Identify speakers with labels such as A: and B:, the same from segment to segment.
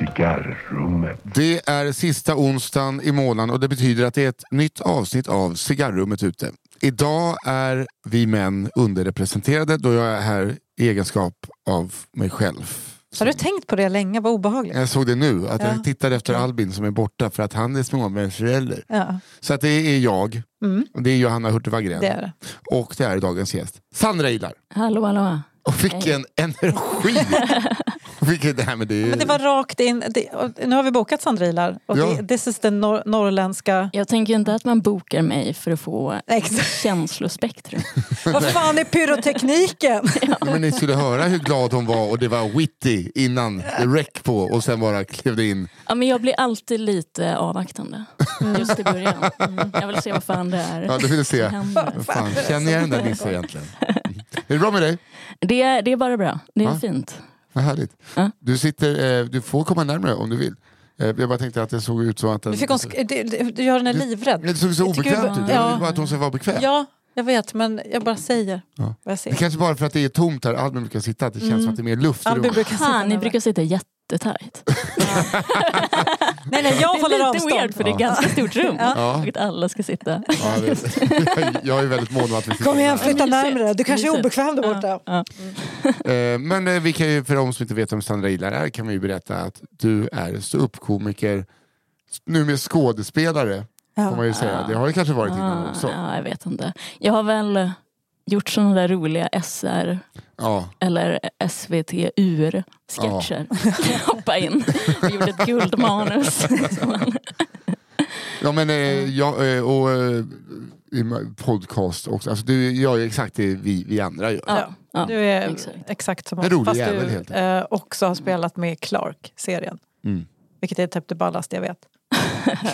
A: Cigarrummet.
B: Det är sista onsdagen i månaden och det betyder att det är ett nytt avsnitt av Cigarrummet ute. Idag är vi män underrepresenterade då jag är här i egenskap av mig själv.
C: Har du tänkt på det länge? Vad obehagligt.
B: Jag såg det nu, att
C: Ja.
B: jag tittar efter Albin som är borta för att han är småbarnsförälder.
C: Ja,
B: Så att det är jag,
C: Mm.
B: och det är Johanna Hurtig Wagrell
C: det är det.
B: och det är dagens gäst, Sandra Ilar.
D: Hallå, hallå.
B: Och vilken energi! vilken, det här med det,
C: Men det var rakt in. Det, och nu har vi bokat Sandra Ilar. Och
B: Ja.
C: det, this is den nor- norrländska...
D: Jag tänker inte att man bokar mig för att få
C: Exakt.
D: känslospektrum.
C: Vad fan är pyrotekniken?
B: Nej, men ni skulle höra hur glad hon var och det var witty innan det räck på och sen bara klev det in.
D: Ja, men jag blir alltid lite avvaktande. Just i början. Mm. Jag vill se vad fan det är.
B: Ja, du ville se.
D: som händer.
B: Fan, känner jag den där Nisse egentligen? Är det bra med dig?
D: Det, är- det är bara bra. Det är
B: Ja.
D: fint.
B: Vad härligt.
D: Ja.
B: Du, sitter, eh, du får komma närmare om du vill. Eh, Jag bara tänkte att det såg ut så att den...
C: Du, fick hon sk- du, du, du gör henne
B: det
C: livrädd.
B: såg så
C: Jag tycker
B: obekvämt ut.
D: vi-
B: Jag vill
C: ja.
B: bara att hon ska vara bekväm.
C: Ja, jag vet. Men jag bara säger
B: Ja.
C: vad jag
B: Det
C: ser.
B: kanske bara för att det är tomt här Albin brukar sitta, att det känns som att det är mer luft i
C: Mm. Albin
B: rummet.
C: brukar sitta
D: Fan, ni
C: nära.
D: brukar sitta jättetajt.
C: Nej, nej, jag
D: det
C: håller
D: är lite
C: avstånd.
D: weird för det är ett ganska stort rum.
B: Ja.
D: Och att alla ska sitta.
B: Ja, jag vet. jag är väldigt mån om att vi sitter
C: Kom igen,
B: nära.
C: flytta
D: Mysigt.
C: närmare. Du kanske är
D: Mysigt.
C: obekväm där borta.
D: Ja.
B: Eh, Men eh, vi kan ju, för de som inte vet vem Sandra Ilar är kan vi ju berätta att du är ståuppkomiker, nu med skådespelare får man ju säga. Det har ju kanske varit innan
D: Ah,
B: också.
D: ja, jag vet inte. Jag har väl gjort sådana där roliga SR
B: Ja.
D: eller SVT-ur sketcher. Hoppa in och gjorde ett guldmanus. som man-
B: Ja, men, eh, jag, eh, och eh, i ma- podcast också. Alltså, du gör ju exakt det vi, vi andra gör.
D: ja, ja.
C: Du är
D: exakt.
C: exakt som
B: En
C: oss.
B: rolig
C: Fast
B: jävel,
C: du
B: helt
C: eh, också har spelat med i Clark-serien.
B: Mm.
C: Vilket är typ det ballaste jag vet.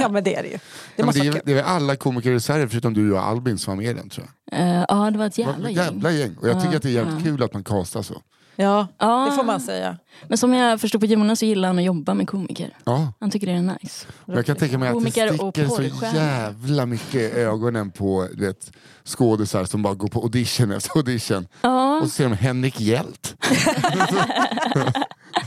C: ja men det är det ju. Det
B: Ja, men
C: måste
B: det,
C: vara
B: är,
C: kul.
B: det är väl alla komiker i Sverige förutom du och Albin som var med i den tror jag.
D: Eh, ja, det var ett
B: Det var
D: jävla
B: ett
D: gäng.
B: jävla gäng. Och jag tycker
D: Ja,
B: att det är jävligt
D: ja.
B: kul att man kastar så.
C: Ja,
D: Ja,
C: det får man säga.
D: Men som jag förstod på Jonas så gillar han att jobba med komiker.
B: Ja.
D: Han tycker det är nice.
B: Och Jag kan tänka mig att det
D: Komiker och
B: sticker så
D: porrstjärna.
B: jävla mycket i ögonen på du vet, skådisar som bara går på audition efter audition.
D: Ja,
B: Och så ser de Henrik Hjält.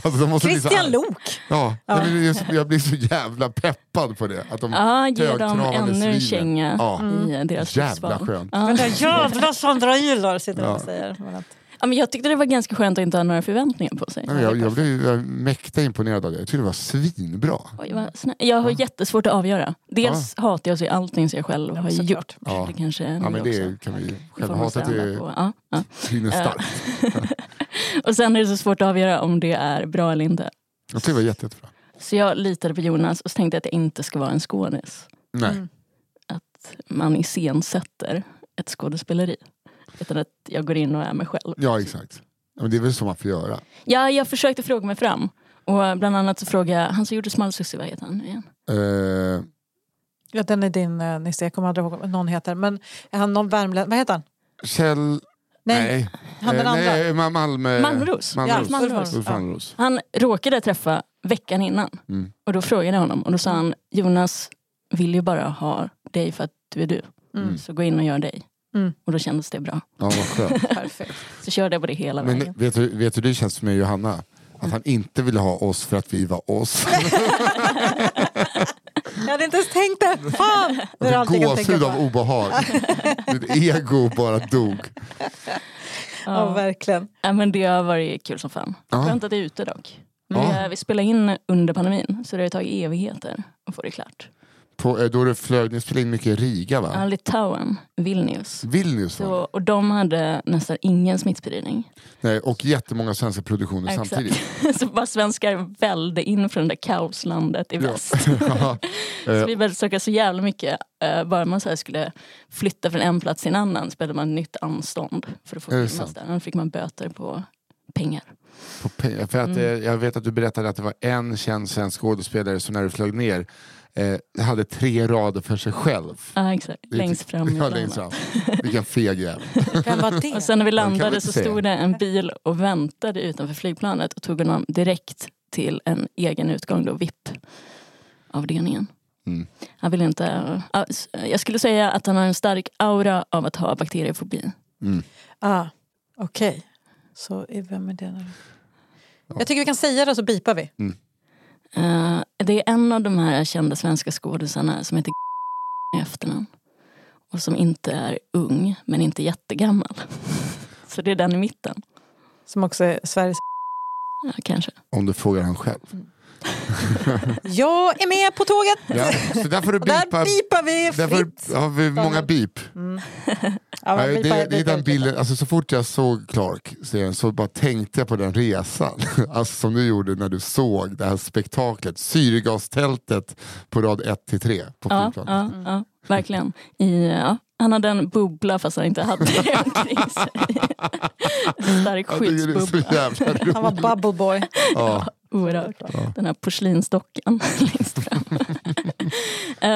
B: alltså, de måste bli så
C: Christian
B: arg.
C: Lok!
B: Ja, Jag, blir, just- jag blir så jävla peppad på det. Att de
D: ja Mm, ge dem
B: högtravande
D: ännu en
B: svinen.
D: känga
B: Ja.
C: Mm.
D: i deras
B: Jävla
D: livsval.
B: skönt.
D: Ja.
C: Den där jävla Sandra Ilar sitter
B: Ja.
C: och säger. Men att-
D: Ja, men jag tyckte det var ganska skönt att inte ha några förväntningar på sig.
B: Nej, Jag, jag blev jag mäkta imponerad av det. Jag tyckte det var svinbra.
D: Oj, vad snä- jag har jättesvårt att avgöra. Dels hatar jag sig allting som jag själv har
C: såklart.
D: gjort.
B: Ja.
D: Det kanske är
B: Ja,
D: ni
B: men
D: också.
B: det kan vi
D: Det får
B: själva
D: man
B: hata
D: stand-up
B: till
D: på. Ja, ja.
B: svinen starkt.
D: Och sen är det så svårt att avgöra om det är bra eller inte.
B: Jag tyckte det var jätte, jättebra.
D: Så jag litade på Jonas och så tänkte jag att jag inte ska vara en skådis.
B: Nej.
D: Mm.
C: Mm.
D: Man iscensätter ett skådespeleri. Utan att jag går in och är mig själv.
B: Ja, exakt. Ja, Men det är väl så man får göra.
D: Ja, jag försökte fråga mig fram. Och bland annat så frågade jag, han som gjorde Smalsusie, vad heter han nu igen?
B: Eh,
C: Ja, den är din eh, Nisse, jag kommer aldrig ihåg vad någon heter. Men är han någon värmländsk? Vad heter han?
B: Kjell...
C: Nej, han
B: Eh,
C: den andra.
B: nej, Ma- Malmö...
D: Malmros.
B: Malmros.
C: Ja, Malmros.
B: Ulf Malmros.
D: Han råkade träffa veckan innan.
B: Mm.
D: Och då frågade jag honom och då sa han, Jonas vill ju bara ha dig för att du är du.
C: Mm.
D: Så gå in och gör dig.
C: Mm.
D: Och då kändes det bra.
B: Ja, vad skönt.
C: Perfekt.
D: Så körde jag på det hela vägen.
B: Men vet du, vet du det känns för mig och Johanna? Att han inte ville ha oss för att vi var oss.
C: Jag hade inte ens tänkt det. Fan! Det är allt jag kan tänka
B: Gåshud av
C: på.
B: obehag. Mitt ego bara dog.
C: Ja, verkligen.
D: Ja, men det har varit kul som fan.
B: Ja.
D: Skönt att det är ute dock.
B: Ja.
D: Vi, eh, vi spelade in under pandemin, så det har ju tagit evigheter att få det klart.
B: På, eh, då det flög, ni spelade in mycket i Riga va?
D: Ja. Litauen, Vilnius.
B: Mm. Vilnius
D: Så,
B: va?
D: och de hade nästan ingen smittspridning.
B: Nej, och jättemånga svenska produktioner
D: Exakt.
B: samtidigt.
D: Så bara svenskar välde in från det där kaoslandet i
B: Ja.
D: väst.
B: Eh,
D: Så vi började söka så jävla mycket. Eh, Bara man så här skulle flytta från en plats till en annan så behövde man nytt anstånd för att få
B: Är det
D: filmas
B: sant?
D: där. Annars fick man böter på pengar.
B: på pengar. För att,
C: Mm.
B: eh, jag vet att du berättade att det var en känd svensk skådespelare som när du flög ner eh, hade tre rader för sig själv.
D: Ja, exakt.
B: Det- typ-
D: Längst fram. i
B: Ja,
D: planet.
B: längst fram. Vilken feg jävel.
C: Vem var
D: Och
C: det?
D: sen när vi
B: kan man
D: landade
B: inte
D: så
B: säga.
D: stod det en bil och väntade utanför flygplanet och tog honom direkt till en egen utgång, då VIP-avdelningen.
B: Mm.
D: Han vill inte... ja, s- Jag skulle säga att han har en stark aura av att ha bakteriefobi.
B: Mm.
C: Ah, Okej. Så vem är det nu? Jag tycker vi kan säga det så bipar vi.
D: Eh, det är en av de här kända svenska skådisarna som heter i efternamn. Och som inte är ung, men inte jättegammal. Så det är den i mitten.
C: Som också är Sveriges...
D: Ja, kanske.
B: Om du frågar han själv.
C: Jag är med på tåget!
B: Ja, så där får du
C: Och där
B: bipa.
C: bipar vi
B: Där får,
C: fritt.
B: har vi många bip.
C: Mm. Ja,
B: Ja,
C: man
B: det,
C: bipar-
B: det är
C: bipar
B: den
C: ut
B: bilden, alltså, så fort jag såg Clark-serien så bara tänkte jag på den resan alltså, som du gjorde när du såg det här spektaklet, syrgastältet på rad 1 till 3 på
D: Ja,
B: flygplanet.
D: ja, ja, verkligen. I, ja. Han hade en bubbla fast han inte hade det omkring sig. En stark
B: Jag tycker det är så
D: skyddsbubbla.
B: jävla roligt.
C: Han var bubble boy.
B: Ja.
D: Oerhört. den här porslinsdockan längst fram. Eh,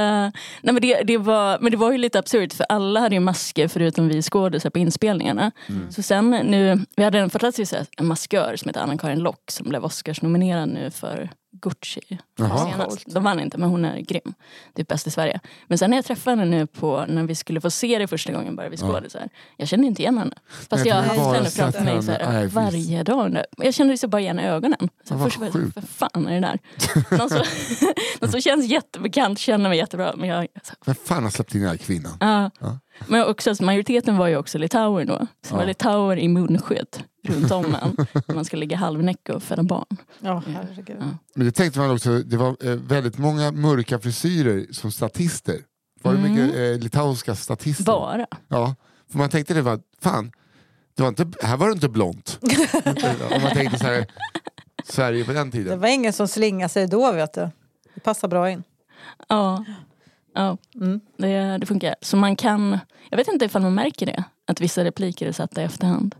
D: nej men, det, det var, men det var ju lite absurt för alla hade ju masker förutom vi skådisar på inspelningarna.
B: Mm.
D: Så sen nu, vi hade en fantastisk så här, en maskör som heter Anna-Karin Lock som blev Oscars-nominerad nu för Gucci.
B: Jaha.
D: Senast. De vann inte men hon är grym. Typ bäst i Sverige. Men sen när jag träffade henne nu på när vi skulle få se det första gågen bara vi skådisar. Jag kände inte igen henne. Fast
B: Nej,
D: jag
B: för
D: har
B: du har
D: haft
B: bara
D: henne framför
B: sett
D: mig så
B: henne. Nej,
D: här,
B: visst.
D: varje dag nu. Jag kände liksom bara igen ögonen. Så
B: Ja, vad
D: först var jag så,
B: sjukt.
D: för fan är det där? Någon som, någon som känns jättebekant känner mig jättebra. Men, jag, så,
B: Vem fan har släppt in den här kvinnan?
D: ja.
B: Ja.
D: men också, att majoriteten var ju också litauer då. Så det var
B: Ja.
D: litauer i munskydd runt om en. när man ska ligga halvnäck och föda barn.
C: Ja, herregud.
D: Ja.
B: Men det tänkte man också, det var eh, väldigt många mörka frisyrer som statister. Var det
D: Mm.
B: mycket eh, litauiska statister?
D: Bara.
B: Ja, för man tänkte det var, fan, det var inte, här var det inte blont. Om man tänkte så här, Sverige på den
C: Det
B: tiden.
C: var ingen som slingade sig då, vet du. Det passar bra in.
D: Ja. ja.
C: Mm.
D: Det, det funkar. Så man kan... Jag vet inte ifall man märker det. Att vissa repliker är satta i efterhand.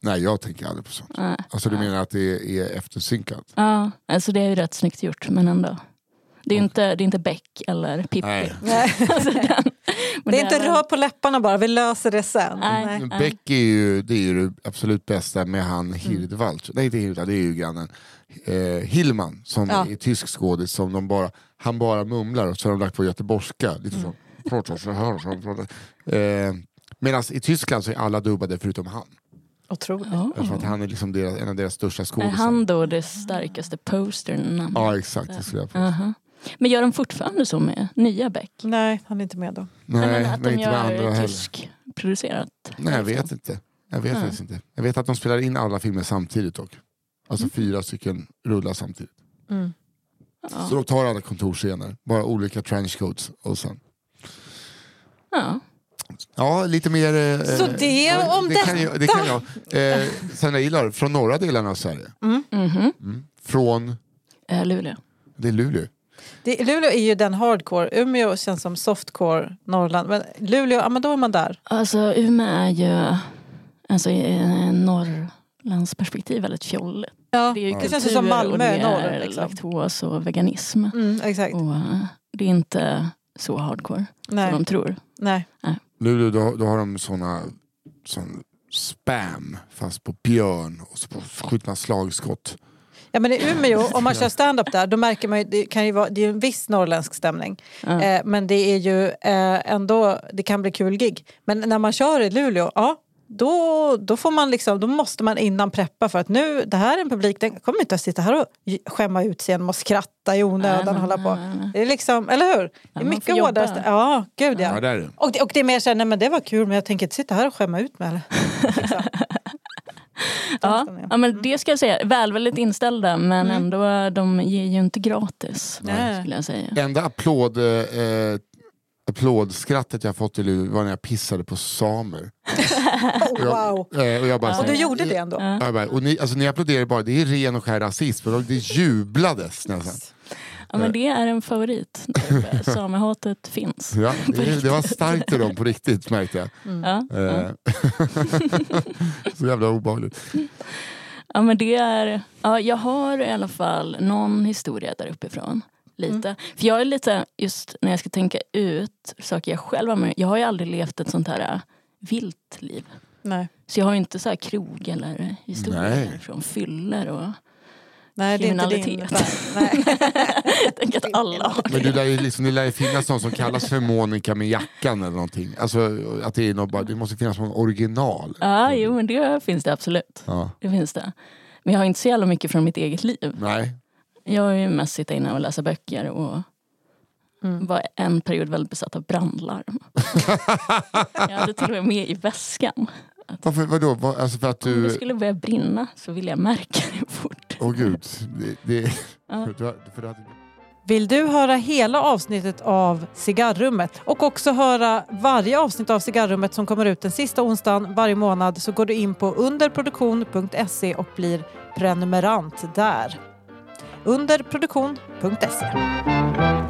B: Nej, jag tänker aldrig på sånt.
D: Nej.
B: Alltså du menar att det är eftersynkat?
D: Ja, alltså det är ju rätt snyggt gjort, men ändå. Det är ju inte, det är inte Beck eller Pippi.
B: Nej.
C: Nej.
D: Alltså den, men
C: Det är inte
D: väl-
C: rör på läpparna bara, vi löser det sen.
D: Nej. Mm.
C: Nej.
B: Beck är ju det, är ju det absolut bästa med han Hirdwald, nej inte Hirdwald, det är ju grannen. Eh, Hillman som
C: Ja.
B: är tysk skådis som de bara, han bara mumlar och så har de lagt på göteborgska.
D: Mm.
B: Lite så. Pratar så här, så pratar. Eh, Medan i Tyskland så är alla dubbade förutom han.
C: Otroligt.
D: Ja.
B: Eftersom att han är liksom deras, en av deras största
D: Är
B: skådisar.
D: Mm. han då det starkaste postern?
B: Ja exakt, det skulle jag påstå.
D: Aha. Men gör de fortfarande så med nya Beck?
C: Nej, han är inte med då.
B: Nej,
D: men att
B: men
D: de
B: inte med andra
D: gör liksom.
B: heller.
D: tyskproducerat?
B: Nej, jag vet inte. Jag vet
D: Nej.
B: faktiskt inte. Jag vet att de spelar in alla filmer samtidigt dock.
D: Mm.
B: Alltså fyra stycken rullar samtidigt.
C: Mm.
D: Ja.
B: Så de tar alla kontorsscener, bara olika trenchcoats och sen.
D: Ja.
B: Ja, lite mer... eh,
C: Så det
B: eh,
C: om
B: det kan jag, det kan jag. Eh, Sanna Ilar, från norra delarna av Sverige.
D: Mhm.
B: Mm. Från,
D: Eh, Luleå.
B: det är Luleå.
C: Det, Luleå är ju den hardcore, Umeå känns som softcore Norrland. Men Luleå, ja men då är man där.
D: Alltså Umeå är ju alltså, i eh, norrlandsperspektiv väldigt fjolligt.
C: Ja.
D: Det, är ju
C: Det känns ju
D: kultur
C: som Malmö
D: och det
C: i norr,
D: är
C: liksom.
D: laktos och veganism.
C: Mm, exakt.
D: Och eh, det är inte så hardcore som
C: Nej.
D: de tror.
C: Nej.
B: Luleå, då, då har de såna sån spam, fast på björn och så på skjutna slagskott.
C: Ja, men I Umeå, om man kör stand-up där, då märker man ju, det, kan ju vara, det är ju en viss norrländsk stämning.
D: Ja.
C: Eh, men det är ju eh, ändå, det kan bli kul gig. Men när man kör i Luleå, ja, då, då, får man liksom, då måste man innan preppa för att nu, det här är en publik, den kommer inte att sitta här och j- skämma ut sig genom att skratta i
D: Nej,
C: onödan
D: nej,
C: och hålla på.
D: nej, nej.
C: Det är liksom, eller hur? Det är
D: man får
C: mycket
D: jobba.
C: hårdare. stä- Ja, gud ja.
B: Ja, där är det.
C: Och det, och det är mer så här, nej men det var kul men jag tänker inte sitta här och skämma ut mig heller. Liksom.
D: Ja,
C: stämningen.
D: ja, men det ska jag säga. Välvilligt inställda men ändå, de ger ju inte gratis.
C: Mm. Nej.
D: Skulle jag säga.
B: Enda applåd, eh, applådskrattet jag fått i Luleå var när jag pissade på samer.
C: Oh,
B: Och jag,
C: wow.
B: eh, och jag bara, så
C: Och
B: här-
C: du gjorde det ändå?
B: Ja, jag bara, och ni, alltså, ni applåderar bara, det är ren och skär rasism. Och det jublades nästan.
D: Ja, men det är en favorit. typ. Samehatet finns.
B: Ja, det, det var starkt i dem på riktigt märkte jag.
C: Mm.
D: Ja, ja.
B: Eh, så jävla obehagligt.
D: Ja, men det är, ja, jag har i alla fall någon historia där uppifrån. Lite.
C: Mm.
D: För jag är lite, just när jag ska tänka ut saker jag själv har med Jag har ju aldrig levt ett sånt här äh, vilt liv.
C: Nej.
D: Så jag har ju inte så här krog eller historier
B: Nej.
D: från fyller och...
C: Nej, det är inte din.
D: Kriminalitet.
C: Nej.
D: Jag tänker att alla har
B: Men du lär ju liksom, det lär ju finnas någon som kallas för Monica med jackan eller någonting. Alltså, att det, är någon, bara- det måste finnas någon original.
D: Ja, jo men det finns det absolut.
B: Ja.
D: Det finns det. Men jag har inte så jävla mycket från mitt eget liv.
B: Nej,
D: Jag har ju mest sitta inne och läsa böcker och var en period väldigt besatt av brandlarm. jag hade till och med med i väskan.
B: Varför, vadå? Vad, alltså för att
D: Om
B: du...
D: det skulle börja brinna så ville jag märka det fort.
B: Åh gud. Det, det,
D: Ja.
B: för, du har- för du hade...
C: Vill du höra hela avsnittet av Cigarrummet och också höra varje avsnitt av Cigarrummet som kommer ut den sista onsdagen varje månad så går du in på underproduktion.se och blir prenumerant där. Underproduktion.se